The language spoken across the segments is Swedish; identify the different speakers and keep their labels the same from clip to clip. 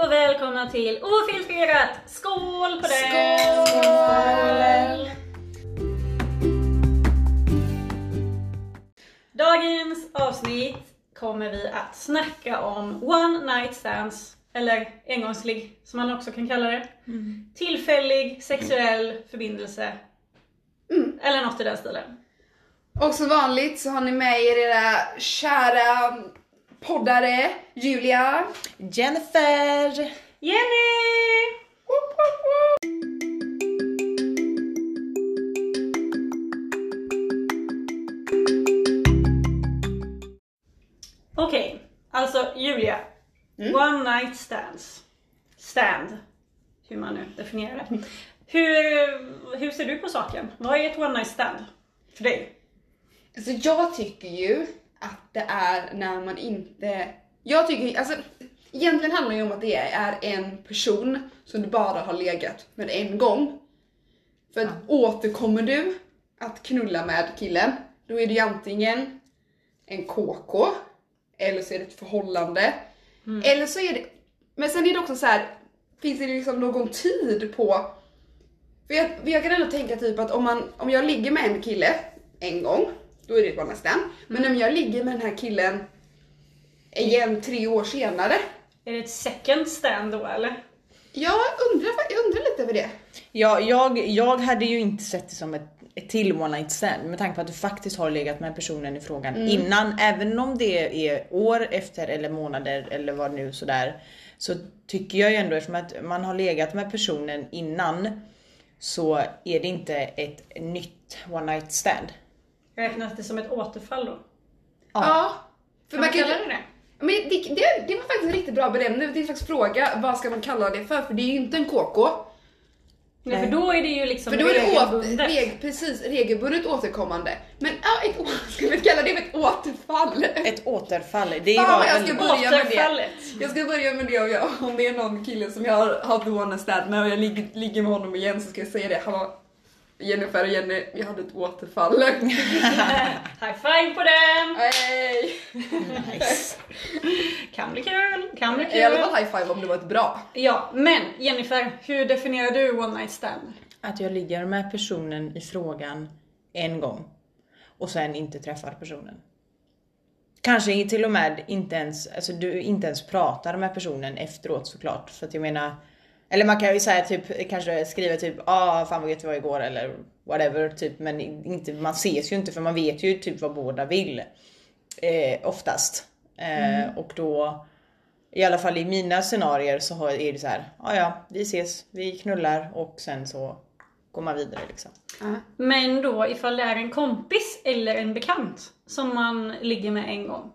Speaker 1: och välkomna till Ofiltrerat! Skål på dig!
Speaker 2: Skål!
Speaker 1: Dagens avsnitt kommer vi att snacka om One Night Stands, eller engångslig som man också kan kalla det. Tillfällig sexuell förbindelse.
Speaker 2: Mm.
Speaker 1: Eller något i den stilen.
Speaker 2: Och som vanligt så har ni med er era kära poddare Julia.
Speaker 3: Jennifer!
Speaker 1: Jenny! Okej, alltså Julia.
Speaker 2: Mm.
Speaker 1: One night stands. Stand. Hur man nu definierar det. Hur, hur ser du på saken? Vad är ett one night stand? För dig?
Speaker 2: Alltså jag tycker ju att det är när man inte... Jag tycker alltså egentligen handlar det ju om att det är en person som du bara har legat med en gång. För att återkommer du att knulla med killen, då är det ju antingen en KK, eller så är det ett förhållande. Eller så är det... Men sen är det också så här, finns det liksom någon tid på för jag, för jag kan ändå tänka typ att om, man, om jag ligger med en kille en gång, då är det bara nästan. Men
Speaker 1: Mm.
Speaker 2: om jag ligger med den här killen igen tre år senare.
Speaker 1: Är det ett second stand då eller?
Speaker 2: Jag undrar, fa- jag undrar lite över det.
Speaker 3: Ja, jag, jag hade ju inte sett det som ett, ett till one night stand med tanke på att du faktiskt har legat med personen i frågan
Speaker 2: Mm.
Speaker 3: innan. Även om det är år efter eller månader eller vad nu sådär. Så tycker jag ju ändå eftersom att man har legat med personen innan så är det inte ett nytt one night stand.
Speaker 1: Räknas det som ett återfall då?
Speaker 2: Ja. För
Speaker 1: Kan
Speaker 2: man
Speaker 1: man
Speaker 2: kan,
Speaker 1: kalla det det?
Speaker 2: men det, det, det var faktiskt en riktigt bra benämning. Jag tänkte faktiskt fråga vad ska man kalla det för? För det är ju inte en KK.
Speaker 1: Nej, för då är det ju liksom
Speaker 2: För då är det åter,
Speaker 1: regelbundet.
Speaker 2: reg, precis, regelbundet återkommande. Men ja, ett, å- ska vi kalla det för ett återfall?
Speaker 3: Ett återfall. Det
Speaker 2: Fan,
Speaker 3: var
Speaker 2: vad jag
Speaker 3: en-
Speaker 2: ska börja med det.
Speaker 1: Återfallet.
Speaker 2: Jag ska börja med det om, jag, om det är någon kille som jag har haft one stand med och jag ligger, ligger med honom igen så ska jag säga det. Han var Jennifer och Jenny, jag hade ett återfall.
Speaker 1: High five på den!
Speaker 2: Hej!
Speaker 1: Kan bli kul, kan bli kul.
Speaker 2: I alla fall high five om det var ett bra.
Speaker 1: Ja, men Jennifer, hur definierar du one night stand?
Speaker 3: Att jag ligger med personen i frågan en gång och sen inte träffar personen. Kanske till och med inte ens, alltså du inte ens pratar med personen efteråt såklart. För att jag menar, eller man kan ju säga typ, kanske skriva typ ah fan vad gött det var igår eller whatever typ men inte, man ses ju inte för man vet ju typ vad båda vill. Eh, oftast. Eh, Och då i alla fall i mina scenarier så har- är det så här, ja ja, vi ses, vi knullar och sen så går man vidare liksom.
Speaker 1: Men då ifall det är en kompis eller en bekant som man ligger med en gång.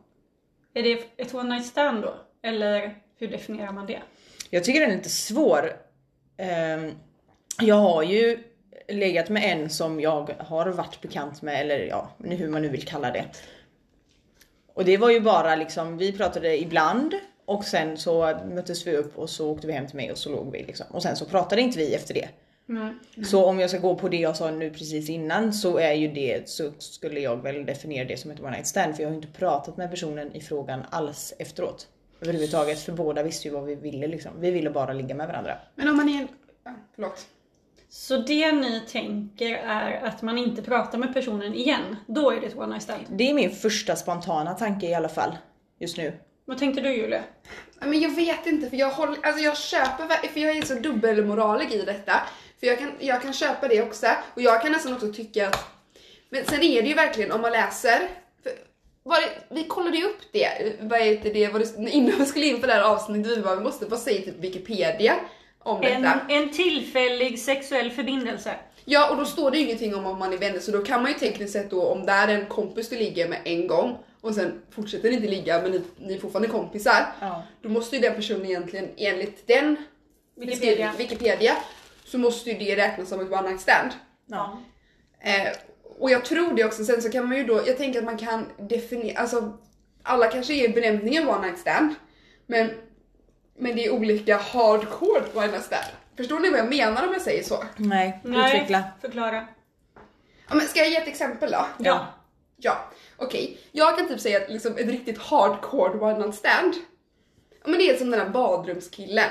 Speaker 1: Är det ett one night stand då? Eller hur definierar man det?
Speaker 3: Jag tycker den är lite svår. Ehm, Jag har ju legat med en som jag har varit bekant med, eller ja, nu- hur man nu vill kalla det. Och det var ju bara liksom, vi pratade ibland och sen så möttes vi upp och så åkte vi hem till mig och så låg vi liksom. Och sen så pratade inte vi efter det. Mm. Så om jag ska gå på det jag sa nu precis innan så är ju det, så skulle jag väl definiera det som ett one night stand för jag har ju inte pratat med personen i frågan alls efteråt. Överhuvudtaget för båda visste ju vad vi ville liksom. Vi ville bara ligga med varandra.
Speaker 2: Men om man är en... ja, Ah, Förlåt.
Speaker 1: Så det ni tänker är att man inte pratar med personen igen. Då är det ett one night stand.
Speaker 3: Det är min första spontana tanke i alla fall just nu.
Speaker 1: Vad tänkte du Julia?
Speaker 2: Ja, Men jag vet inte för jag håller, alltså jag köper, ver- för jag är så dubbelmoralig i detta. För jag kan, jag kan köpa det också och jag kan nästan också tycka att, men sen är det ju verkligen om man läser, för, var det, vi kollade ju upp det, vad heter det, vad det innan vi skulle in på det här avsnittet, vi bara, vi måste, vad säger typ Wikipedia om detta?
Speaker 1: En, en tillfällig sexuell förbindelse.
Speaker 2: Ja, och då står det ju ingenting om om man är vänner, så då kan man ju tekniskt sett då om det är en kompis du ligger med en gång och sen fortsätter ni inte ligga men ni, ni är fortfarande kompisar.
Speaker 3: Ja.
Speaker 2: Då måste ju den personen egentligen enligt den
Speaker 1: Wikipedia.
Speaker 2: Wikipedia, Wikipedia så måste ju det räknas som ett one night stand.
Speaker 1: Ja.
Speaker 2: Eh, och jag tror det också, sen så kan man ju då, jag tänker att man kan definiera, alltså alla kanske ger benämningen one night stand men, men det är olika hardcore one night stand. Förstår ni vad jag menar om jag säger så?
Speaker 3: Nej,
Speaker 1: Nej,
Speaker 3: utveckla.
Speaker 1: förklara.
Speaker 2: Ja, men ska jag ge ett exempel då?
Speaker 1: Ja.
Speaker 2: Ja, okej. Jag kan typ säga att liksom ett riktigt hardcore one night stand. Men det är som den här badrumskillen.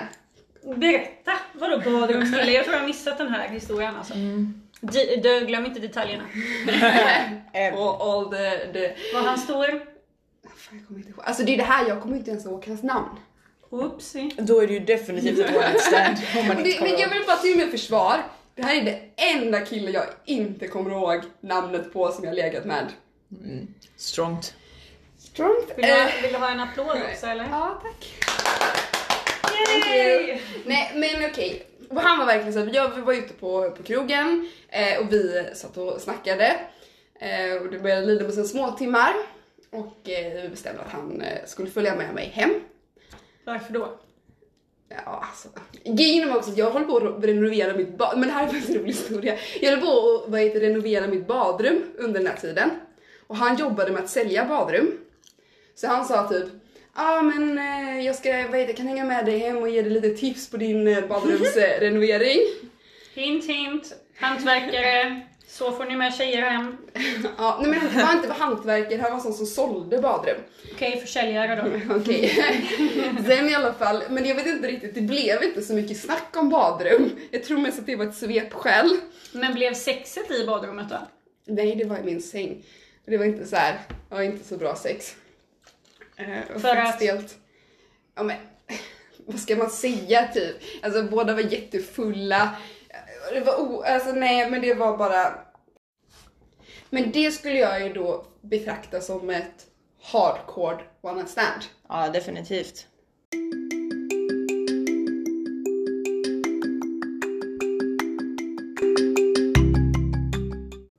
Speaker 1: Berätta! Vadå badrumskille? Jag tror jag har missat den här historien alltså. Di- du, glöm inte detaljerna.
Speaker 3: Eh,
Speaker 2: Och all the... the...
Speaker 1: Var han stor?
Speaker 2: Fan, jag kommer inte ihåg. Alltså det är det här, jag kommer inte ens ihåg hans namn.
Speaker 1: Oopsie.
Speaker 3: då är det ju definitivt ett one night stand om man
Speaker 2: Men,
Speaker 3: inte
Speaker 2: det, men
Speaker 3: kommer
Speaker 2: jag
Speaker 3: ihåg.
Speaker 2: vill bara till med försvar. Det här är det enda kille jag inte kommer ihåg namnet på som jag har legat med.
Speaker 3: Strongt.
Speaker 2: Strongt.
Speaker 1: Vill, du ha-
Speaker 2: Eh,
Speaker 1: vill du ha en applåd också eller?
Speaker 2: ja, tack.
Speaker 1: Yay!
Speaker 2: Nej men okej. Och Han var verkligen så här, jag vi var ute på, på krogen eh, och vi satt och snackade. Eh, och det började lida mot sina små timmar. Och eh, vi bestämde att han eh, skulle följa med mig hem.
Speaker 1: Varför då?
Speaker 2: Ja, alltså. Grejen var också att jag håller på att renovera mitt badrum. Men det här är faktiskt en rolig historia. Jag håller på att vad heter, det, renovera mitt badrum under den här tiden. Och han jobbade med att sälja badrum. Så han sa typ, ja ah, men eh, jag ska, vad heter, det, kan hänga med dig hem och ge dig lite tips på din eh, badrumsrenovering.
Speaker 1: Hint hint, hantverkare. Så får ni med tjejer hem.
Speaker 2: ja, nej men han var inte hantverkare, han var sån som sålde badrum.
Speaker 1: Okej, försäljare då.
Speaker 2: Okej. Sen i alla fall, men jag vet inte riktigt, det blev inte så mycket snack om badrum. Jag tror mest att det var ett svepskäl.
Speaker 1: Men blev sexet i badrummet då?
Speaker 2: Nej, det var i min säng. Det var inte så här, det var inte så bra sex. Eh, och
Speaker 1: För
Speaker 2: fett
Speaker 1: att?
Speaker 2: Stelt. Ja men, vad ska man säga typ? Alltså båda var jättefulla. Det var o, alltså nej men det var bara. Men det skulle jag ju då betrakta som ett hardcore one night stand.
Speaker 3: Ja, definitivt.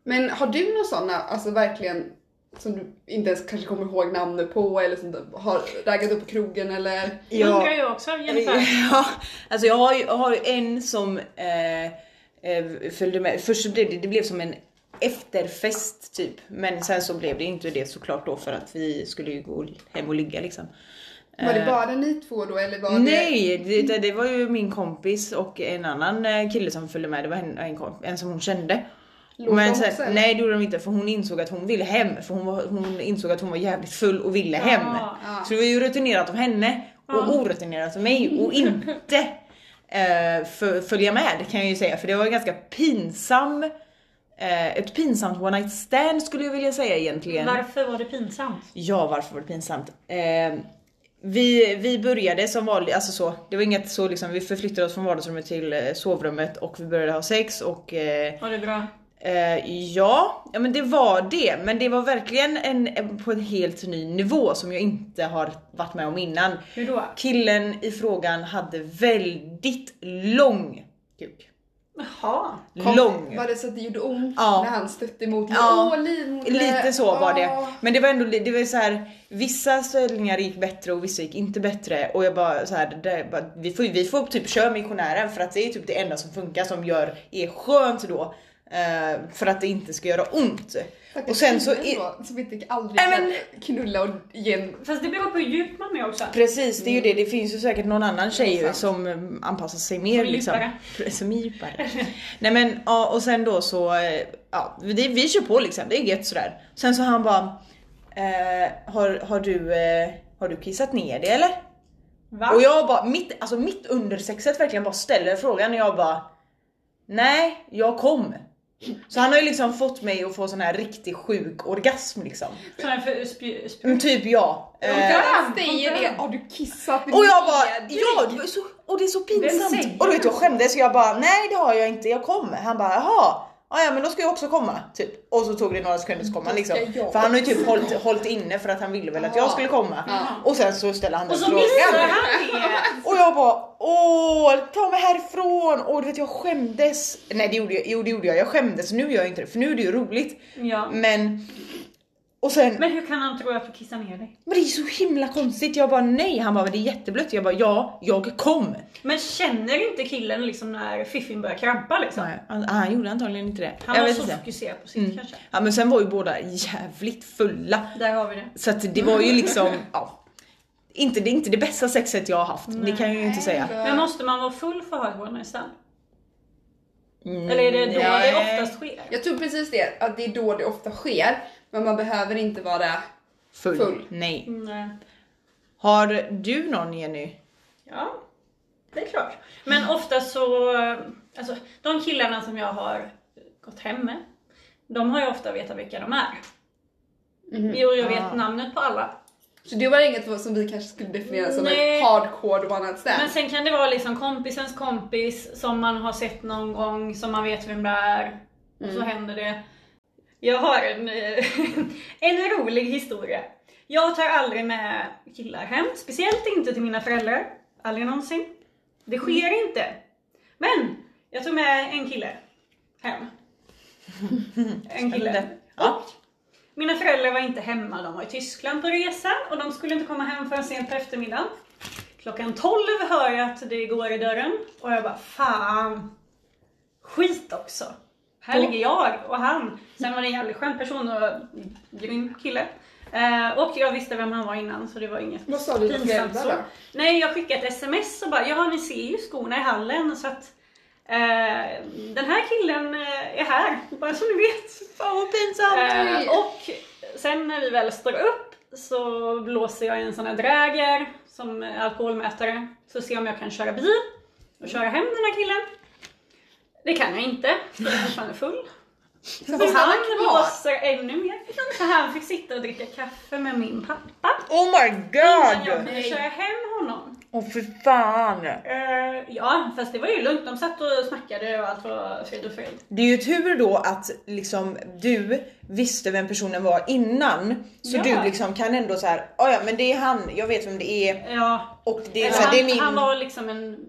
Speaker 2: Men har du några sådana, alltså verkligen som du inte ens kanske kommer ihåg namnet på eller som du har raggat upp på krogen eller?
Speaker 1: Ja. undrar jag också Jennifer.
Speaker 3: Eh, Ja, alltså jag har ju, jag har ju en som eh, eh, följde med. Först så blev det, det blev som en efterfest typ. Men sen så blev det inte det såklart då för att vi skulle ju gå hem och ligga liksom.
Speaker 2: Var
Speaker 1: Eh.
Speaker 2: det bara ni två då eller var det?
Speaker 3: Nej, det, det- det var ju min kompis och en annan eh, kille som följde med. Det var en, en, komp- en som hon kände.
Speaker 2: Låg de
Speaker 3: Men
Speaker 2: också,
Speaker 3: sen,
Speaker 2: eller?
Speaker 3: nej det gjorde de inte för hon insåg att hon ville hem. För hon, var, hon insåg att hon var jävligt full och ville hem.
Speaker 1: Ah.
Speaker 3: Så det var ju rutinerat av henne och
Speaker 1: Ah.
Speaker 3: orutinerat av mig och inte eh, fö- följa med kan jag ju säga. För det var en ganska pinsam, eh, ett pinsamt one night stand skulle jag vilja säga egentligen.
Speaker 1: Varför var det pinsamt?
Speaker 3: Ja, varför var det pinsamt? Eh, vi, vi började som vanligt, alltså så, det var inget så liksom, vi förflyttade oss från vardagsrummet till eh, sovrummet och vi började ha sex och eh,
Speaker 1: Var det bra?
Speaker 3: eh, ja, ja men det var det. Men det var verkligen en, en, på en helt ny nivå som jag inte har varit med om innan.
Speaker 1: Hur då?
Speaker 3: Killen i frågan hade väldigt lång kuk.
Speaker 1: Jaha.
Speaker 2: Kom-
Speaker 3: lång.
Speaker 2: Var det så att det gjorde ont
Speaker 3: Ja.
Speaker 2: när han stötte emot?
Speaker 3: Ja.
Speaker 2: Åh, livmoder.
Speaker 3: Lite så var det.
Speaker 2: Åh.
Speaker 3: Men det var ändå li- det var så här, vissa ställningar gick bättre och vissa gick inte bättre. Och jag bara så här, det, där- bara, vi, får, vi får typ köra missionären för att det är typ det enda som funkar som gör är skönt då. eh, för att det inte ska göra ont.
Speaker 2: Stackars
Speaker 3: Och sen så...
Speaker 2: kille
Speaker 3: i-
Speaker 2: då, som inte aldrig
Speaker 3: Nej,
Speaker 2: kan knulla och igen.
Speaker 1: Fast det beror på hur djup man är också.
Speaker 3: Precis, det är ju det. Det finns ju säkert någon annan
Speaker 2: Det är
Speaker 3: tjej
Speaker 2: sant.
Speaker 3: som eh, anpassar sig mer.
Speaker 1: Som är
Speaker 3: liksom.
Speaker 1: djupare.
Speaker 3: Pre- Som är djupare. Nej men ja, och sen då så, eh, ja det, vi kör på liksom. Det är gött sådär. Sen så han bara, eh, har, har, du, eh, har du kissat ner det eller?
Speaker 1: Va?
Speaker 3: Och jag bara, mitt, alltså mitt under sexet verkligen bara ställer frågan och jag bara Nej, jag kom. Så han har ju liksom fått mig att få sån här riktigt sjuk orgasm liksom.
Speaker 1: Sån här för spj- spj-
Speaker 3: Mm, Typ ja. Eh,
Speaker 2: Han säger det, har du kissat
Speaker 3: och jag bara,
Speaker 2: ner dig?
Speaker 3: ja, det var så, och det är så
Speaker 1: Vem säger
Speaker 3: pinsamt. Och du vet jag skämdes så jag bara, nej det har jag inte, jag kommer. Han bara, jaha. Ja, ja men då ska jag också komma. Typ. Och så tog det några sekunder så kom han
Speaker 2: Då ska
Speaker 3: liksom.
Speaker 2: jag
Speaker 3: För han har ju typ hållit, hållit inne för att han ville väl att jag
Speaker 2: Ja.
Speaker 3: skulle komma.
Speaker 2: Ja.
Speaker 3: Och sen så ställer han
Speaker 1: Och
Speaker 3: den
Speaker 1: så missar
Speaker 3: frågan.
Speaker 1: han det!
Speaker 3: Och jag bara åh, ta mig härifrån! Och du vet jag skämdes. Nej det gjorde jag, jo det gjorde jag, jag skämdes. Nu gör jag inte det för nu är det ju roligt.
Speaker 1: Ja.
Speaker 3: Men och sen, men,
Speaker 1: Men hur kan han tro att du kissar ner dig?
Speaker 3: det är ju så himla konstigt. Jag bara nej, han bara men det är jätteblött. Jag bara ja, jag kom.
Speaker 1: Men känner inte killen liksom när fiffin börjar krampa liksom?
Speaker 3: Nej, han, Alltså, han gjorde antagligen inte det.
Speaker 1: Han
Speaker 3: jag
Speaker 1: var
Speaker 3: vet
Speaker 1: så
Speaker 3: inte.
Speaker 1: fokuserad på sitt
Speaker 3: Mm.
Speaker 1: kanske.
Speaker 3: Ja men sen var ju båda jävligt fulla.
Speaker 1: Där har vi det.
Speaker 3: Så att det var ju liksom, ja. Inte det, inte det bästa sexet jag har haft, det kan jag ju inte säga.
Speaker 2: Nej,
Speaker 1: Men
Speaker 2: då.
Speaker 1: måste man vara full för att ha ett one night stand?
Speaker 3: Mm,
Speaker 1: Eller är det då
Speaker 3: nej.
Speaker 1: det oftast sker?
Speaker 2: Jag tror precis det, att det är då det ofta sker. Men man behöver inte vara...
Speaker 3: full?
Speaker 1: Mm, eh,
Speaker 2: full?
Speaker 3: Nej.
Speaker 1: Nej.
Speaker 3: Har du någon Jenny?
Speaker 1: Ja, det är klart. Men
Speaker 3: Mm.
Speaker 1: ofta så, alltså de killarna som jag har gått hem med, de har ju ofta vetat vilka de är.
Speaker 2: Mhm.
Speaker 1: Jo, jag vet
Speaker 3: Ah.
Speaker 1: namnet på alla.
Speaker 2: Så det var inget som vi kanske skulle definiera som
Speaker 1: Nej.
Speaker 2: ett hardcore one night stand?
Speaker 1: Men sen kan det vara liksom kompisens kompis som man har sett någon gång, som man vet vem det är. Och så händer det. Jag har en, eh, en rolig historia. Jag tar aldrig med killar hem, speciellt inte till mina föräldrar. Aldrig någonsin. Det sker inte. Men jag tog med en kille hem. En kille.
Speaker 3: Spännande.
Speaker 1: Och mina föräldrar var inte hemma, de var i Tyskland på resa och de skulle inte komma hem förrän sent på eftermiddagen. Klockan 12 hör jag att det går i dörren och jag bara fan, skit också. Här ligger jag och han. Sen var det en jävligt skön person och grym kille. Eh, och jag visste vem han var innan så det var inget
Speaker 2: Vad sa du till
Speaker 1: pinsamt
Speaker 2: föräldrar
Speaker 1: så.
Speaker 2: då?
Speaker 1: Nej, jag skickade ett sms och bara, ja ni ser ju skorna i hallen så att eh, den här killen eh, är här, bara så ni vet.
Speaker 3: Fan vad pinsamt!
Speaker 1: Eh, och sen när vi väl står upp så blåser jag i en sån här dräger som alkoholmätare. Så ser jag om jag kan köra bil och köra hem den här killen. Det kan jag inte, för jag är fortfarande full.
Speaker 2: Så
Speaker 1: Så
Speaker 2: får
Speaker 1: han
Speaker 2: han kvar?
Speaker 1: blåser ännu mer. Så han fick sitta och dricka kaffe med min pappa
Speaker 3: Oh my
Speaker 1: innan jag
Speaker 3: god!
Speaker 1: kunde köra hem honom.
Speaker 3: Åh oh, för fan!
Speaker 1: Eh, ja, fast det var ju lugnt. De satt och snackade och allt var frid och fröjd.
Speaker 3: Det är ju tur då att liksom du visste vem personen var innan. Så
Speaker 1: Ja.
Speaker 3: du liksom kan ändå så här, "Ah, ja men det är han, jag vet vem det är
Speaker 1: Ja,
Speaker 3: och det är,
Speaker 1: eller
Speaker 3: så här,
Speaker 1: han,
Speaker 3: det är min.
Speaker 1: han var liksom en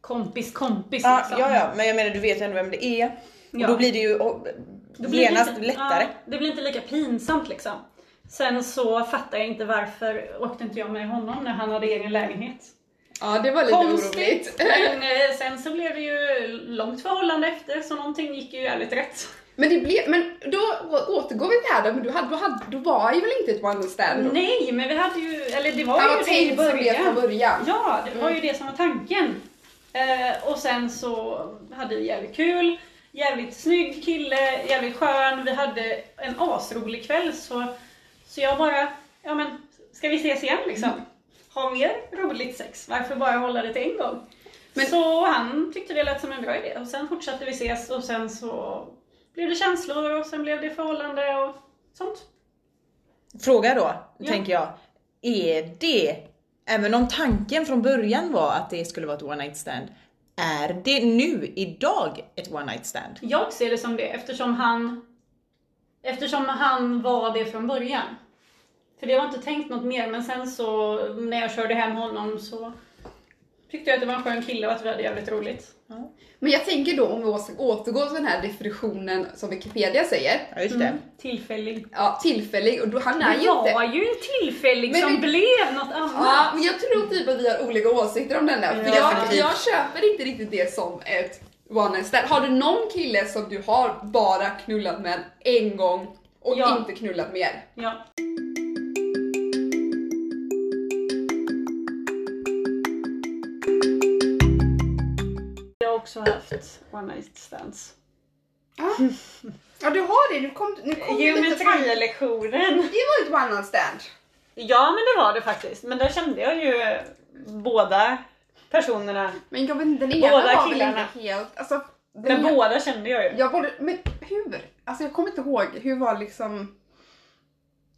Speaker 1: kompis kompis.
Speaker 3: ja,
Speaker 1: liksom.
Speaker 3: ja, ja, men jag menar du vet ändå vem det är. Och
Speaker 1: Ja.
Speaker 3: då blir det ju och,
Speaker 1: Det blir
Speaker 3: genast
Speaker 1: inte-
Speaker 3: lättare.
Speaker 1: Ja, det blir inte lika pinsamt liksom. Sen så fattar jag inte varför åkte inte jag med honom när han hade egen lägenhet.
Speaker 2: Ja, det var lite oroligt.
Speaker 1: Men eh, sen så blev det ju långt förhållande efter så någonting gick ju jävligt rätt.
Speaker 2: Men, det blev, men då å- återgår vi till det här då, men du, hade, du, hade, du var ju väl inte ett one night stand? då?
Speaker 1: Nej, men vi hade ju, eller det var
Speaker 2: Han
Speaker 1: ju
Speaker 2: var
Speaker 1: det i
Speaker 2: tänkt som det från
Speaker 1: början.
Speaker 2: början.
Speaker 1: Ja, det var ju det som var tanken. Eh, och sen så hade vi jävligt kul, jävligt snygg kille, jävligt skön. Vi hade en asrolig kväll så, så jag bara, ja men ska vi ses igen liksom? Ha mer roligt sex, varför bara hålla det till en gång?
Speaker 2: Men-
Speaker 1: Så han tyckte det lät som en bra idé och sen fortsatte vi ses och sen så blev det känslor och sen blev det förhållande och sånt.
Speaker 3: Fråga då,
Speaker 1: Ja.
Speaker 3: tänker jag. Är det, även om tanken från början var att det skulle vara ett one night stand, är det nu, idag, ett one night stand?
Speaker 1: Jag ser det som det eftersom han Eftersom han var det från början. För det var inte tänkt något mer men sen så när jag körde hem honom så tyckte jag att det var en skön kille och att vi hade jävligt roligt.
Speaker 2: Men jag tänker då om vi åter- återgår till den här definitionen som Wikipedia säger.
Speaker 3: Ja, just det.
Speaker 1: Mm. Tillfällig.
Speaker 2: Ja, tillfällig och då, han är
Speaker 1: det
Speaker 2: ju inte...
Speaker 1: var ju en tillfällig
Speaker 2: Men
Speaker 1: som
Speaker 2: det-
Speaker 1: blev något annat.
Speaker 2: Ja, men jag tror typ att vi har olika åsikter om den där. För
Speaker 1: Ja.
Speaker 2: jag, jag köper inte riktigt det som ett one night stand. Har du någon kille som du har bara knullat med en gång och
Speaker 1: Ja.
Speaker 2: inte knullat mer?
Speaker 1: Ja. Jag har också haft one night stands.
Speaker 2: Ja du har det, nu kom, nu
Speaker 1: Geometrilektionen.
Speaker 2: Det var ett one night stand.
Speaker 1: Ja men det var det faktiskt. Men där kände jag ju eh, båda personerna.
Speaker 2: Men jag vet inte, den ena
Speaker 1: Båda
Speaker 2: var
Speaker 1: killarna.
Speaker 2: väl inte helt... Alltså,
Speaker 1: Men
Speaker 2: den ena-
Speaker 1: båda kände jag ju.
Speaker 2: jag borde, men hur? Alltså jag kommer inte ihåg, hur var liksom...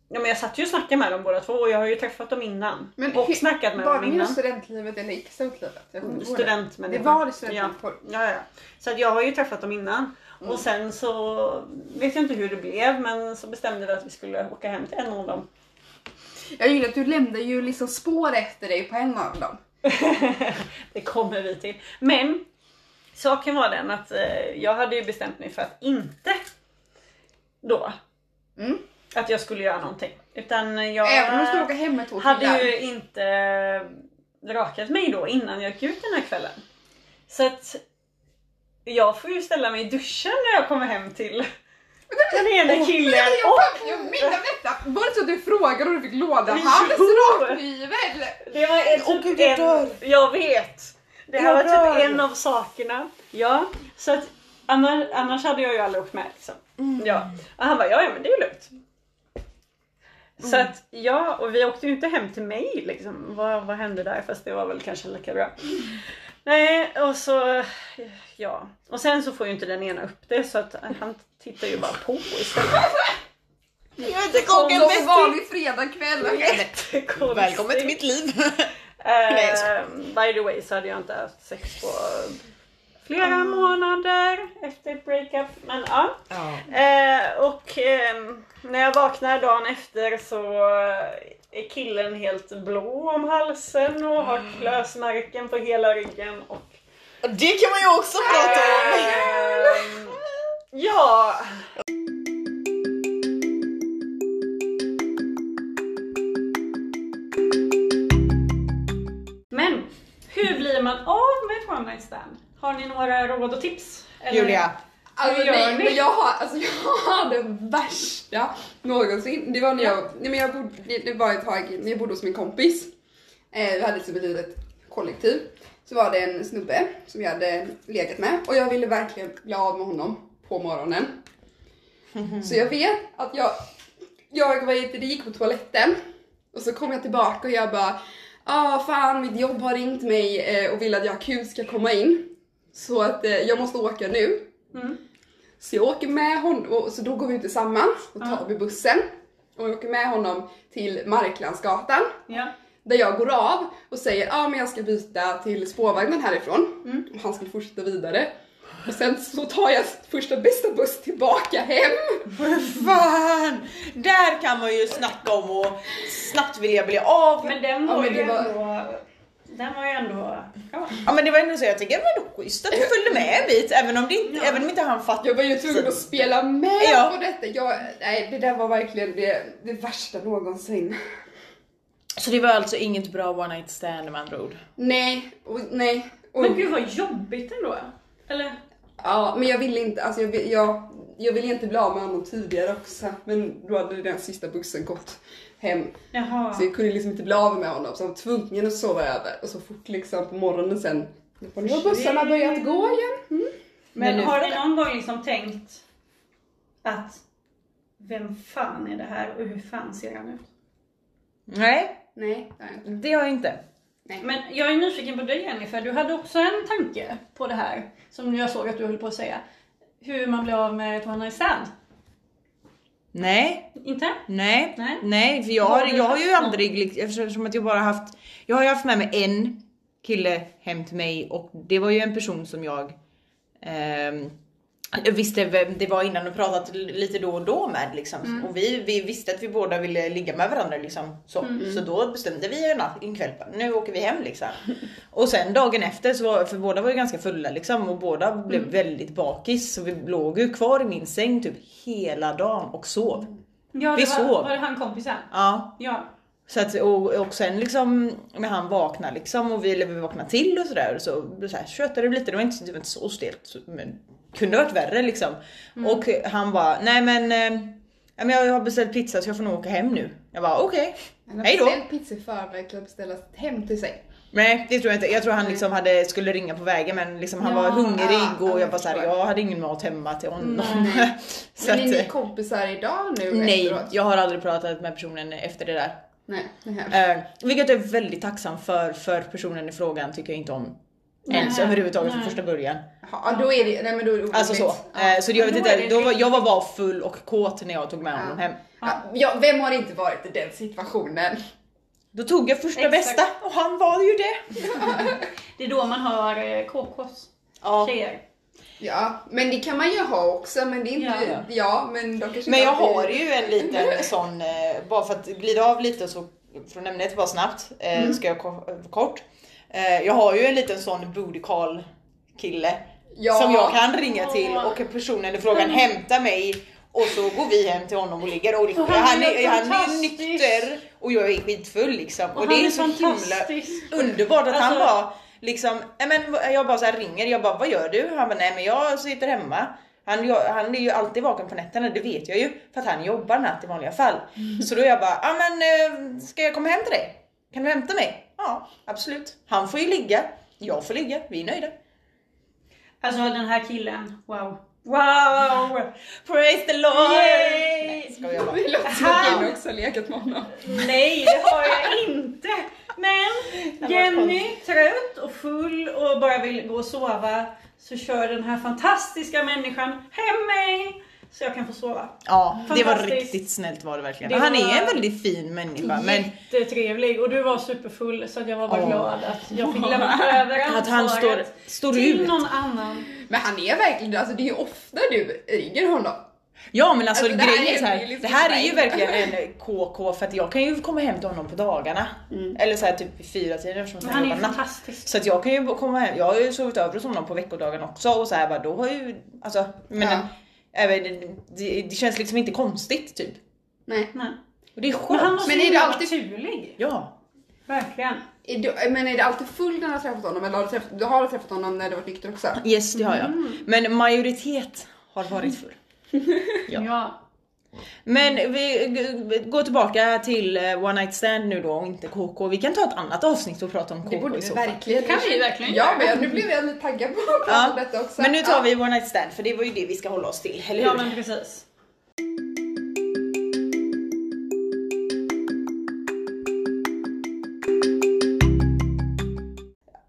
Speaker 1: Ja, men jag satt ju och snackade med dem båda två och jag har ju träffat dem innan.
Speaker 2: Men
Speaker 1: och
Speaker 2: hur-
Speaker 1: snackat med
Speaker 2: Var
Speaker 1: dem
Speaker 2: det inom
Speaker 1: innan.
Speaker 2: studentlivet eller icke studentlivet? Jag kommer inte ihåg det.
Speaker 1: Studentmänniskor.
Speaker 2: Det var det Mm.
Speaker 1: ja.
Speaker 2: studentmänniskor.
Speaker 1: ja, ja. Så att jag har ju träffat dem innan. Och sen så vet jag inte hur det blev men så bestämde vi att vi skulle åka hem till en av dem.
Speaker 2: Jag gillar att du lämnade ju liksom spår efter dig på en av dem.
Speaker 1: det kommer vi till. Men saken var den att eh, jag hade ju bestämt mig för att inte då
Speaker 2: Mm.
Speaker 1: att jag skulle göra någonting. Utan jag
Speaker 2: Även om du skulle åka hem med två killar.
Speaker 1: hade ju inte rakat mig då innan jag gick ut den här kvällen. Så att jag får ju ställa mig i duschen när jag kommer hem till den ena killen
Speaker 2: Jag,
Speaker 1: och
Speaker 2: jag, jag minns av detta. Var det så att du frågade om du fick lådahalsrakt
Speaker 1: Jo.
Speaker 2: rakhyvel?
Speaker 1: Det var ett,
Speaker 3: Åh, gud, jag dör.
Speaker 1: typ en, jag vet. Det här
Speaker 3: Jag
Speaker 1: var typ
Speaker 3: dör.
Speaker 1: en av sakerna. Ja, så att annars, Mm. annars hade jag ju aldrig åkt med liksom. Ja. Och han bara, ja, ja men det är ju lugnt. Så att ja, och vi åkte ju inte hem till mig liksom. Vad, vad hände där? Fast det var väl kanske lika bra. Nej, och så ja. Och sen så får ju inte den ena upp det så att han tittar ju bara på istället.
Speaker 2: Som någon
Speaker 1: typ-
Speaker 2: vanlig fredagkväll.
Speaker 1: Jättekonstigt.
Speaker 4: Välkommen till mitt liv. Nej, jag
Speaker 1: Eh, by the way så hade jag inte haft sex på flera
Speaker 4: Ah.
Speaker 1: månader efter ett breakup. Men ja.
Speaker 4: Ja.
Speaker 1: Eh, och ehm, när jag vaknar dagen efter så är killen helt blå om halsen och har
Speaker 4: Mm.
Speaker 1: klösmärken på hela ryggen. Och,
Speaker 4: Och Det kan man ju också prata om.
Speaker 1: Ehm, ja, men hur blir man av med ett one night stand? Har ni några råd och tips? Eller-
Speaker 3: Julia,
Speaker 2: Alltså
Speaker 1: Hur gör
Speaker 2: nej,
Speaker 1: ni?
Speaker 2: men jag har, alltså, jag har det värsta någonsin. Det var när jag, nej, men jag bodde, det- det var ett tag när jag bodde hos min kompis. Eh, vi hade liksom ett litet kollektiv. Så var det en snubbe som jag hade legat med och jag ville verkligen bli av med honom på morgonen. Så jag vet att jag, jag var ute, det gick på toaletten och så kom jag tillbaka och jag bara Ah fan mitt jobb har ringt mig eh, och vill att jag akut ska komma in. Så att eh, jag måste åka nu.
Speaker 1: Mm.
Speaker 2: Så jag åker med honom, och så då går vi ut tillsammans och tar
Speaker 1: Ja.
Speaker 2: vi bussen. Och jag åker med honom till Marklandsgatan.
Speaker 1: Ja.
Speaker 2: Där jag går av och säger ah, men jag ska byta till spårvagnen härifrån. Och han skulle fortsätta vidare. Och sen så tar jag första bästa buss tillbaka hem.
Speaker 3: fan! Där kan man ju snacka om och snabbt vilja bli av.
Speaker 1: Men den
Speaker 2: Ja,
Speaker 1: var
Speaker 2: men
Speaker 1: ju
Speaker 2: det var-
Speaker 1: ändå... Den var ju ändå... Ja.
Speaker 3: Ja men det var ändå så jag tycker det var ändå schysst att du följde med en bit även om, det inte, även om inte han fattade.
Speaker 2: Jag var ju tvungen att spela med
Speaker 3: Ja.
Speaker 2: på detta. Jag, nej, det där var verkligen det, det värsta någonsin.
Speaker 3: Så det var alltså inget bra one night stand med andra ord.
Speaker 2: Nej, och, nej. Och,
Speaker 1: Men gud vad jobbigt ändå. Eller?
Speaker 2: Ja, men jag ville inte, alltså jag, vill- jag, jag ville inte bli av med honom tidigare också. Men då hade den sista bussen gått hem.
Speaker 1: Jaha.
Speaker 2: Så jag kunde liksom inte bli av med honom. Så han var tvungen att sova över. Och så fort liksom på morgonen sen, då bara, nu har bussarna börjat gå igen. Mm.
Speaker 1: Men
Speaker 3: Men
Speaker 1: har ni någon gång liksom tänkt att vem fan är det här och hur fan ser han ut?
Speaker 3: Nej,
Speaker 2: Nej, det har jag inte.
Speaker 3: det har jag inte.
Speaker 1: Men jag är nyfiken på dig Jennifer, du hade också en tanke på det här som jag såg att du höll på att säga. Hur man blir av med ett one night stand.
Speaker 3: Nej,
Speaker 1: Inte?
Speaker 3: Nej,
Speaker 1: Nej.
Speaker 3: nej, för jag,
Speaker 1: Har
Speaker 3: har,
Speaker 1: du
Speaker 3: jag har
Speaker 1: haft
Speaker 3: ju
Speaker 1: någon?
Speaker 3: aldrig, lik- eftersom att jag bara haft, jag har ju haft med mig en kille hem till mig och det var ju en person som jag ehm, jag visste vem det var innan och pratat l- lite då och då med liksom.
Speaker 1: Mm.
Speaker 3: Och vi, vi visste att vi båda ville ligga med varandra liksom. Så,
Speaker 1: Mm.
Speaker 3: så då bestämde vi en, natt, en kväll, bara, nu åker vi hem liksom. och sen dagen efter, så var, för båda var ju ganska fulla liksom och båda blev
Speaker 1: Mm.
Speaker 3: väldigt bakis. Så vi låg ju kvar i min säng typ hela dagen och sov.
Speaker 1: Mm. Ja, det
Speaker 3: Vi
Speaker 1: var,
Speaker 3: sov.
Speaker 1: var det han kompisen?
Speaker 3: Ja,
Speaker 1: Ja.
Speaker 3: så att, och, och sen liksom när han vaknar liksom och vi, eller vi vaknar till och sådär så, så här, tjötade det lite, det var inte, det var inte så stelt så- men kunde varit värre liksom.
Speaker 2: Mm.
Speaker 3: Och han bara, nej men eh, ja, men jag har beställt pizza så jag får nog åka hem nu. Jag bara okej,
Speaker 2: Han har
Speaker 3: hej då.
Speaker 2: beställt pizza i förväg till att beställas hem till sig.
Speaker 3: Nej det tror jag inte, jag tror han liksom hade, skulle ringa på vägen men liksom han
Speaker 1: Ja,
Speaker 3: var
Speaker 2: ja,
Speaker 3: hungrig och jag
Speaker 2: jag
Speaker 3: var såhär,
Speaker 2: förstår.
Speaker 3: jag hade ingen mat hemma till honom.
Speaker 2: Nej.
Speaker 3: så
Speaker 2: Men
Speaker 3: att,
Speaker 2: är ni
Speaker 3: eh,
Speaker 2: kompisar idag nu
Speaker 3: nej,
Speaker 2: efteråt?
Speaker 3: jag har aldrig pratat med personen efter det där.
Speaker 2: Nej. nej.
Speaker 3: Eh, vilket jag är väldigt tacksam för, för personen i frågan tycker jag inte om. Ens
Speaker 1: Nej,
Speaker 3: överhuvudtaget
Speaker 1: nej.
Speaker 3: från första början.
Speaker 2: Ja, då är det, nej men då är det otroligt.
Speaker 3: Alltså så. Eh, så det, jag,
Speaker 1: Men
Speaker 3: vet
Speaker 1: då är
Speaker 3: inte,
Speaker 1: det
Speaker 3: då var,
Speaker 1: riktigt-
Speaker 3: jag var bara full och kåt när jag tog med honom
Speaker 2: Ja.
Speaker 3: hem.
Speaker 2: Ja, ja, vem har inte varit i den situationen?
Speaker 3: Då tog jag första
Speaker 1: Exakt.
Speaker 3: bästa och han var ju det.
Speaker 1: Det är då man har eh, KKs.
Speaker 3: Ja.
Speaker 1: Tjejer.
Speaker 2: Ja, men det kan man ju ha också, men det är inte...
Speaker 1: Ja.
Speaker 2: Ja, men då kanske
Speaker 3: Men
Speaker 2: inte
Speaker 3: jag
Speaker 2: alltid-
Speaker 3: har ju en liten sån, eh, bara för att glida av lite och så från ämnet bara snabbt, eh,
Speaker 1: Mm.
Speaker 3: ska jag ko- eh, kort. Eh, jag har ju en liten sån booty call kille
Speaker 2: Ja.
Speaker 3: som jag kan ringa
Speaker 1: Åh.
Speaker 3: till och personen i frågan
Speaker 1: Mm.
Speaker 3: hämtar mig och så går vi hem till honom och ligger och
Speaker 1: Och han är
Speaker 3: han, är, han är
Speaker 1: fantastisk.
Speaker 3: nykter och jag är skitfull liksom. Och,
Speaker 1: Och,
Speaker 3: det
Speaker 1: han
Speaker 3: är,
Speaker 1: är
Speaker 3: så himla
Speaker 1: fantastisk.
Speaker 3: underbart att han
Speaker 1: Alltså-
Speaker 3: bara liksom, "Nej, men, vad-" jag bara så här ringer, jag bara vad gör du? Han bara nej men jag sitter hemma. Han, jag, han är ju alltid vaken på nätterna, det vet jag ju för att han jobbar natt i vanliga fall.
Speaker 1: Mm.
Speaker 3: Så då är jag bara, ja men eh, ska jag komma hem till dig? Kan du hämta mig? Ja, absolut. Han får ju ligga, jag får ligga, vi är nöjda.
Speaker 1: Alltså den här killen, wow. Wow!
Speaker 3: Praise the Lord!
Speaker 1: Yay!
Speaker 3: Ska jag bara.
Speaker 2: Det låter som att Jenny också har legat med honom.
Speaker 1: Nej, det har jag inte. Men
Speaker 3: var
Speaker 1: Jenny, trött och full och bara vill gå och sova, så kör den här fantastiska människan hem mig så jag kan få sova.
Speaker 3: Ja, det var
Speaker 1: Fantastiskt.
Speaker 3: riktigt snällt var det verkligen.
Speaker 1: Det
Speaker 3: Han är en
Speaker 1: var-
Speaker 3: väldigt fin människa men
Speaker 1: Jättetrevlig och du var superfull så att jag var bara
Speaker 3: Åh.
Speaker 1: glad att jag fick lämna över
Speaker 3: att han står,
Speaker 1: ansvaret
Speaker 3: står
Speaker 1: till
Speaker 3: ut.
Speaker 1: någon annan.
Speaker 2: Men han är verkligen, alltså det är ju ofta du ringer honom.
Speaker 3: Ja men alltså,
Speaker 2: Alltså, det här
Speaker 3: grejen
Speaker 2: är
Speaker 3: är så
Speaker 2: ju
Speaker 3: här,
Speaker 2: liksom
Speaker 3: det här är ju
Speaker 2: poäng.
Speaker 3: verkligen en KK för att jag kan ju komma hem till honom på dagarna. Eller så här typ vid fyra tiden eftersom
Speaker 1: Men
Speaker 3: han
Speaker 1: han är
Speaker 3: jobbar
Speaker 1: ju
Speaker 3: natt.
Speaker 1: fantastisk.
Speaker 3: Så att jag kan ju komma hem, jag har ju sovit över hos honom på veckodagen också och så här bara då har ju, alltså men
Speaker 2: Ja.
Speaker 3: även, det, det känns liksom inte konstigt typ.
Speaker 2: Nej.
Speaker 1: Nej.
Speaker 3: Och det är
Speaker 1: Men
Speaker 3: skönt.
Speaker 1: han var så
Speaker 2: Men är det
Speaker 1: himla
Speaker 2: alltid-
Speaker 1: naturlig.
Speaker 3: Ja.
Speaker 1: Verkligen.
Speaker 2: Är du, men är det alltid full när du har träffat honom eller har du träffat, du har träffat honom när du varit nykter också?
Speaker 3: Yes det har jag. Men majoritet har varit full. Ja.
Speaker 1: Ja.
Speaker 3: Men vi g- går tillbaka till eh, One Night Stand nu då och inte KK. Vi kan ta ett annat avsnitt och prata om KK
Speaker 2: Det borde
Speaker 3: i
Speaker 2: vi
Speaker 3: så fall.
Speaker 2: verkligen
Speaker 1: Det kan vi verkligen
Speaker 2: Ja
Speaker 1: göra.
Speaker 2: men nu blev jag lite taggad på att prata
Speaker 3: Ja,
Speaker 2: om detta också.
Speaker 3: Men nu tar
Speaker 2: Ja.
Speaker 3: vi One Night Stand för det var ju det vi ska hålla oss till, eller hur?
Speaker 1: ja, men precis.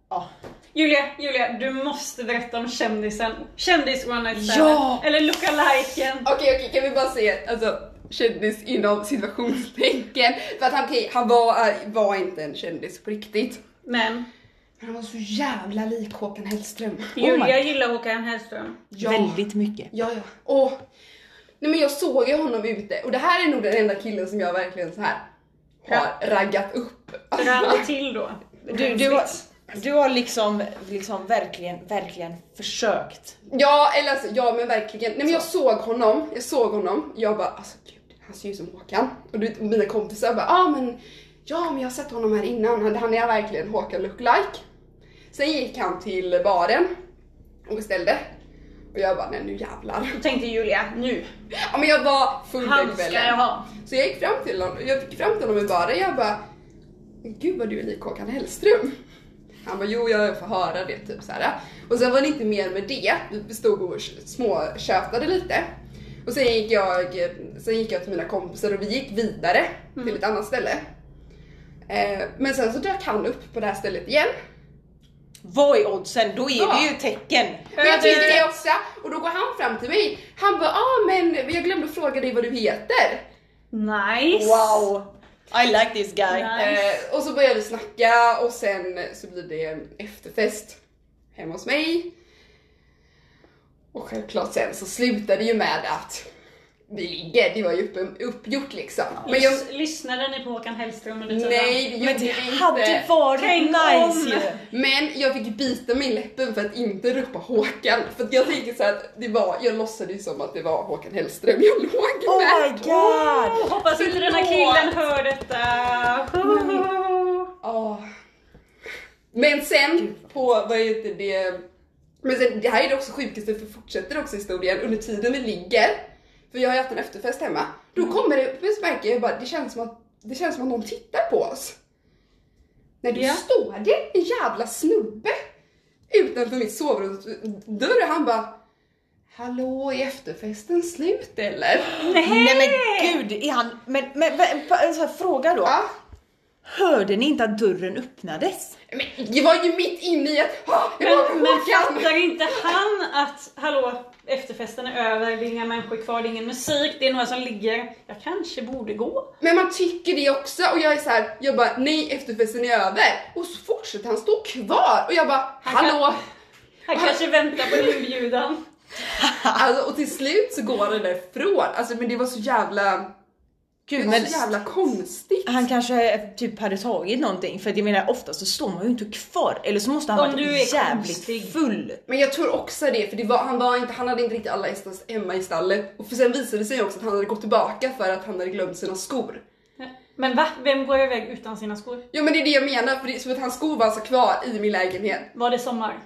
Speaker 3: Ja.
Speaker 1: Julia, Julia, du måste berätta om kändisen. Kändis one night stand.
Speaker 3: Ja!
Speaker 1: Eller lookaliken.
Speaker 2: Okej okej kan vi bara se, alltså kändis inom situationstecken. För att han, okej, han var, äh, var inte en kändis på riktigt.
Speaker 1: Men
Speaker 2: Men han var så jävla lik Håkan Hellström.
Speaker 3: Oh
Speaker 1: Julia gillar Håkan Hellström.
Speaker 2: Ja.
Speaker 3: Väldigt mycket.
Speaker 2: Ja, ja. Åh. Nej men jag såg ju honom ute och det här är nog den enda killen som jag verkligen så här har raggat upp.
Speaker 1: Rann det till då?
Speaker 3: Du, du, har, du har liksom, liksom verkligen, verkligen försökt.
Speaker 2: Ja, eller alltså, ja men verkligen. Nej men jag såg honom, jag såg honom. Jag bara alltså gud, han ser ju ut som Håkan. Och du vet, mina kompisar bara ah, men ja men jag har sett honom här innan, han, han är verkligen Håkan lookalike. Sen gick han till baren och beställde. Och jag bara nej nu jävlar.
Speaker 1: Då tänkte Julia, nu.
Speaker 2: Ja men jag var full den
Speaker 1: Han ska
Speaker 2: kvällen.
Speaker 1: jag ha.
Speaker 2: Så jag gick fram till honom, jag gick fram till honom i baren jag bara Gud vad du är lik Håkan Hellström. Han bara jo jag får höra det typ så här. Och sen var det inte mer med det. Vi stod och småtjötade lite. Och sen gick, jag, sen gick jag till mina kompisar och vi gick vidare till ett annat ställe. Eh, men sen så dök han upp på det här stället igen.
Speaker 3: Vad är oddsen? Då är
Speaker 2: Ja.
Speaker 3: det ju tecken.
Speaker 2: Men jag tycker det också. Och då går han fram till mig. Han bara ah men jag glömde fråga dig vad du heter.
Speaker 1: Nice!
Speaker 3: Wow! I like this guy.
Speaker 1: Nej.
Speaker 2: Eh, och så börjar vi snacka och sen så blir det en efterfest hemma hos mig. Och självklart sen så slutar det ju med att vi ligger, det var ju upp, uppgjort liksom. Men jag,
Speaker 1: Lys- lyssnade ni på Håkan Hellström under tiden?
Speaker 2: nej det
Speaker 3: Men
Speaker 2: gjorde
Speaker 3: det
Speaker 2: vi
Speaker 3: hade
Speaker 2: inte.
Speaker 3: varit
Speaker 1: Tänk
Speaker 3: nice
Speaker 1: om.
Speaker 3: ju.
Speaker 2: Men jag fick bita mig i läppen för att inte ropa Håkan. För att jag tänker så här att det var, jag låtsades ju som att det var Håkan Hellström jag låg
Speaker 3: Oh
Speaker 2: med.
Speaker 3: my god!
Speaker 1: Oh, hoppas inte den här killen hör detta.
Speaker 2: Ja. Men sen på, vad heter det? Men sen, det här är det också sjukaste för fortsätter också historien under tiden vi ligger. För jag har ju haft en efterfest hemma. Då kommer det, plötsligt märker jag bara det känns som att, det känns som att någon tittar på oss. När du
Speaker 1: Ja.
Speaker 2: står det en jävla snubbe utanför mitt sovrumsdörr och han bara Hallå, är efterfesten slut eller?
Speaker 3: Nej men gud, är han... Men, men, men så här, fråga då.
Speaker 2: Ja.
Speaker 3: Hörde ni inte att dörren öppnades?
Speaker 2: Men det var ju mitt inne i att, "Ah, det var
Speaker 1: Men, men
Speaker 2: Håkan!"
Speaker 1: fattar inte han att, hallå, efterfesten är över, det är inga människor kvar, det är ingen musik, det är några som ligger. Jag kanske borde gå.
Speaker 2: Men man tycker det också och jag är så här, jag bara nej efterfesten är över och så fortsätter han stå kvar och jag bara
Speaker 1: Han kan-
Speaker 2: hallå!
Speaker 1: Han kanske väntar på en inbjudan.
Speaker 2: Alltså, och till slut så går han därifrån, alltså men det var så jävla, det
Speaker 3: Gud,
Speaker 2: var
Speaker 3: men
Speaker 2: så jävla konstigt.
Speaker 3: han kanske typ hade tagit någonting för att jag menar ofta så står man ju inte kvar eller så måste han
Speaker 1: Om
Speaker 3: varit
Speaker 1: du är
Speaker 3: jävligt
Speaker 1: konstig.
Speaker 3: full.
Speaker 2: Men jag tror också det för det var, han, var inte, han hade inte riktigt alla hästar hemma i stallet och för sen visade det sig också att han hade gått tillbaka för att han hade glömt sina skor.
Speaker 1: Men va? Vem går iväg utan sina skor?
Speaker 2: Ja men det är det jag menar för det är som att hans skor var alltså kvar i min lägenhet.
Speaker 1: Var det sommar?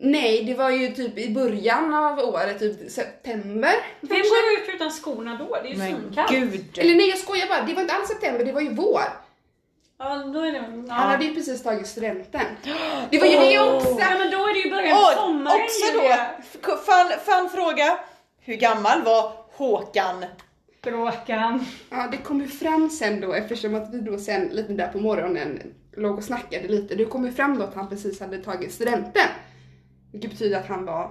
Speaker 2: Nej det var ju typ i början av året, typ september.
Speaker 1: Vem går ut utan skorna då? Det är ju
Speaker 3: Men
Speaker 1: svinkallt.
Speaker 3: gud.
Speaker 2: Eller nej jag skojar bara, det var inte alls september, det var ju vår.
Speaker 1: Ja, då är det... Ja.
Speaker 2: Han hade ju precis tagit studenten. Det var ju det också!
Speaker 1: Ja, men då är det ju början på
Speaker 3: Och
Speaker 1: sommaren.
Speaker 3: också då,
Speaker 1: Julia.
Speaker 3: f- fan, fan fråga, hur gammal var Håkan?
Speaker 1: Bråkan.
Speaker 2: Ja, det kom ju fram sen då eftersom att vi då sen lite där på morgonen låg och snackade lite. Det kom ju fram då att han precis hade tagit studenten. Vilket betyder att han var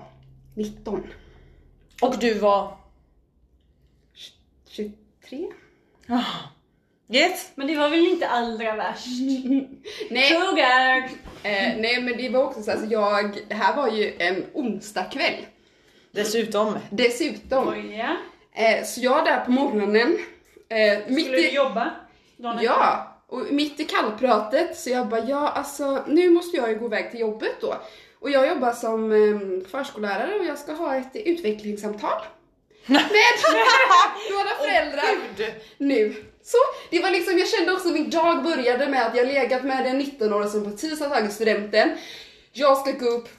Speaker 2: 19.
Speaker 3: Och du var?
Speaker 2: 23?
Speaker 3: Ah, Yes.
Speaker 1: Men det var väl inte allra värst?
Speaker 2: Nej,
Speaker 1: Sugar!
Speaker 2: eh, nej men det var också så alltså jag, det här var ju en onsdagkväll
Speaker 3: Dessutom.
Speaker 2: dessutom.
Speaker 1: Oj, ja.
Speaker 2: Eh, så jag där på morgonen, eh, mitt
Speaker 1: Skulle du
Speaker 2: i,
Speaker 1: jobba? dagen efter?
Speaker 2: ja, och mitt i kallpratet så jag bara ja alltså nu måste jag ju gå iväg till jobbet då. Och jag jobbar som eh, förskollärare och jag ska ha ett utvecklingssamtal. med några föräldrar. nu. Så det var liksom, jag kände också min dag började med att jag legat med en 19-åring som precis har tagit studenten. Jag ska gå upp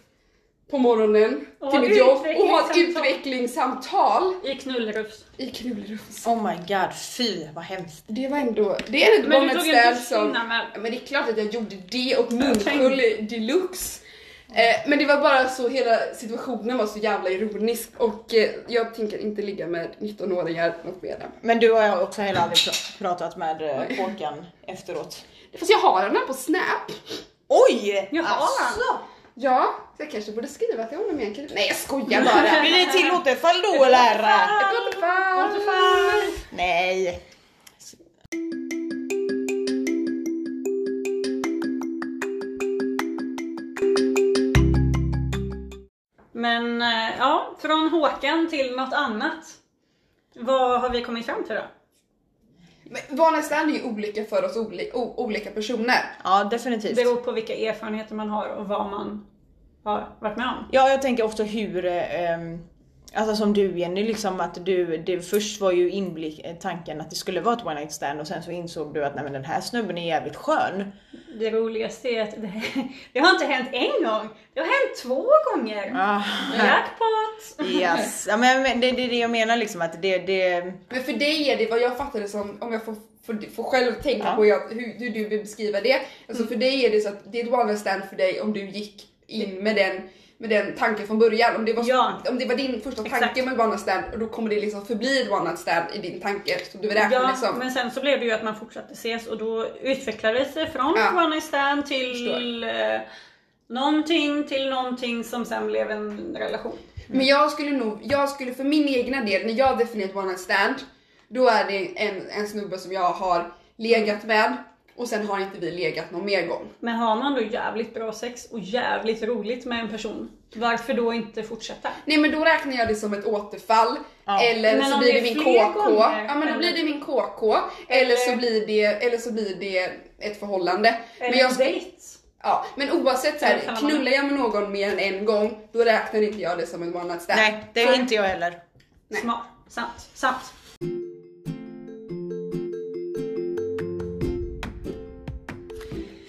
Speaker 2: på morgonen
Speaker 1: Och
Speaker 2: till
Speaker 1: ha
Speaker 2: mitt jobb och ha ett
Speaker 1: utvecklingssamtal.
Speaker 2: utvecklingssamtal
Speaker 1: I knullrufs.
Speaker 2: i Knullerufs.
Speaker 3: Oh my god, fy vad hemskt.
Speaker 2: Det var ändå, det är ändå
Speaker 1: Men du
Speaker 2: bara ett
Speaker 1: tog
Speaker 2: ställe
Speaker 1: en
Speaker 2: som...
Speaker 1: kvinna med.
Speaker 2: Ja, Men det är klart att jag gjorde det och munskydd deluxe. Eh, men det var bara så, hela situationen var så jävla ironisk och eh, jag tänker inte ligga med 19-åringar något mer.
Speaker 3: Men du har jag också heller aldrig pra- pratat med eh, Håkan efteråt.
Speaker 2: Fast jag har den här på snap.
Speaker 3: Oj!
Speaker 1: Jaha.
Speaker 3: Alltså.
Speaker 2: Ja, så jag kanske borde skriva till honom egentligen. Nej jag skojar bara.
Speaker 3: Blir det till återfall då eller?
Speaker 2: Ett återfall.
Speaker 1: Återfall.
Speaker 3: Nej.
Speaker 1: Men eh, ja, från Håkan till något annat. Vad har vi kommit fram till då?
Speaker 2: Men Vanlighetsland är ju olika för oss oli- o- olika personer.
Speaker 3: Ja
Speaker 1: Det
Speaker 3: definitivt.
Speaker 1: beror på vilka erfarenheter man har och vad man har varit med om.
Speaker 3: Ja, jag tänker också hur, eh, ehm, alltså som du Jenny, liksom att du, det först var ju inblick, eh, tanken att det skulle vara ett one night stand och sen så insåg du att nej men den här snubben är jävligt skön.
Speaker 1: Det roligaste är att det, det har inte hänt en gång. Det har hänt två gånger.
Speaker 3: Ah,
Speaker 1: Jackpot!
Speaker 3: yes. Ja, men men det är det, är det jag menar liksom att det, det,
Speaker 2: Men för dig är det vad jag fattade som, om jag får, får, får själv tänka
Speaker 3: Ja.
Speaker 2: på jag, hur, hur du vill beskriva det.
Speaker 1: Mm.
Speaker 2: Alltså för dig är det så att det är ett vanlighetsland för dig om du gick in med den med den tanken från början. Om det var,
Speaker 1: Ja.
Speaker 2: om det var din första
Speaker 1: Exakt.
Speaker 2: tanke med one stand och då kommer det liksom förbli ett one stand i din tanke. Så du räknar
Speaker 1: Ja,
Speaker 2: liksom.
Speaker 1: men sen så blev det ju att man fortsatte ses och då utvecklades det från
Speaker 2: Ja.
Speaker 1: one night stand till eh, någonting till någonting som sen blev en relation.
Speaker 2: Men jag skulle nog, jag skulle för min egna del, när jag definierar ett one night stand, då är det en, en snubbe som jag har legat med och sen har inte vi legat någon mer gång.
Speaker 1: Men har man då jävligt bra sex och jävligt roligt med en person, varför då inte fortsätta?
Speaker 2: Nej men då räknar jag det som ett återfall.
Speaker 3: Ja.
Speaker 2: Eller
Speaker 1: Men
Speaker 2: så
Speaker 1: om
Speaker 2: blir
Speaker 1: det
Speaker 2: det,
Speaker 1: är
Speaker 2: min
Speaker 1: fler
Speaker 2: KK.
Speaker 1: gånger,
Speaker 2: ja men då
Speaker 1: eller-
Speaker 2: blir det min KK. Eller,
Speaker 1: Eller-
Speaker 2: så blir det, eller så blir det ett förhållande.
Speaker 1: Eller
Speaker 2: men, jag,
Speaker 1: en dejt?
Speaker 2: ja, men oavsett så
Speaker 1: Eller
Speaker 2: här,
Speaker 1: kan man-
Speaker 2: knullar jag med någon mer än en gång, då räknar inte jag det som ett one night stand.
Speaker 3: nej, det är inte jag heller.
Speaker 2: Nej.
Speaker 1: Smart. Sant. Sant.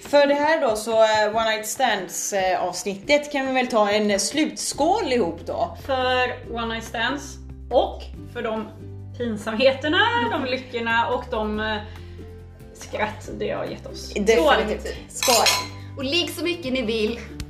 Speaker 3: För det här då så eh, one night stands eh, avsnittet kan vi väl ta en eh, slutskål ihop då.
Speaker 1: För One Night Stands och för de pinsamheterna, de lyckorna och de eh, skratt det har gett oss.
Speaker 3: Definitivt.
Speaker 2: Och ligg så mycket ni vill.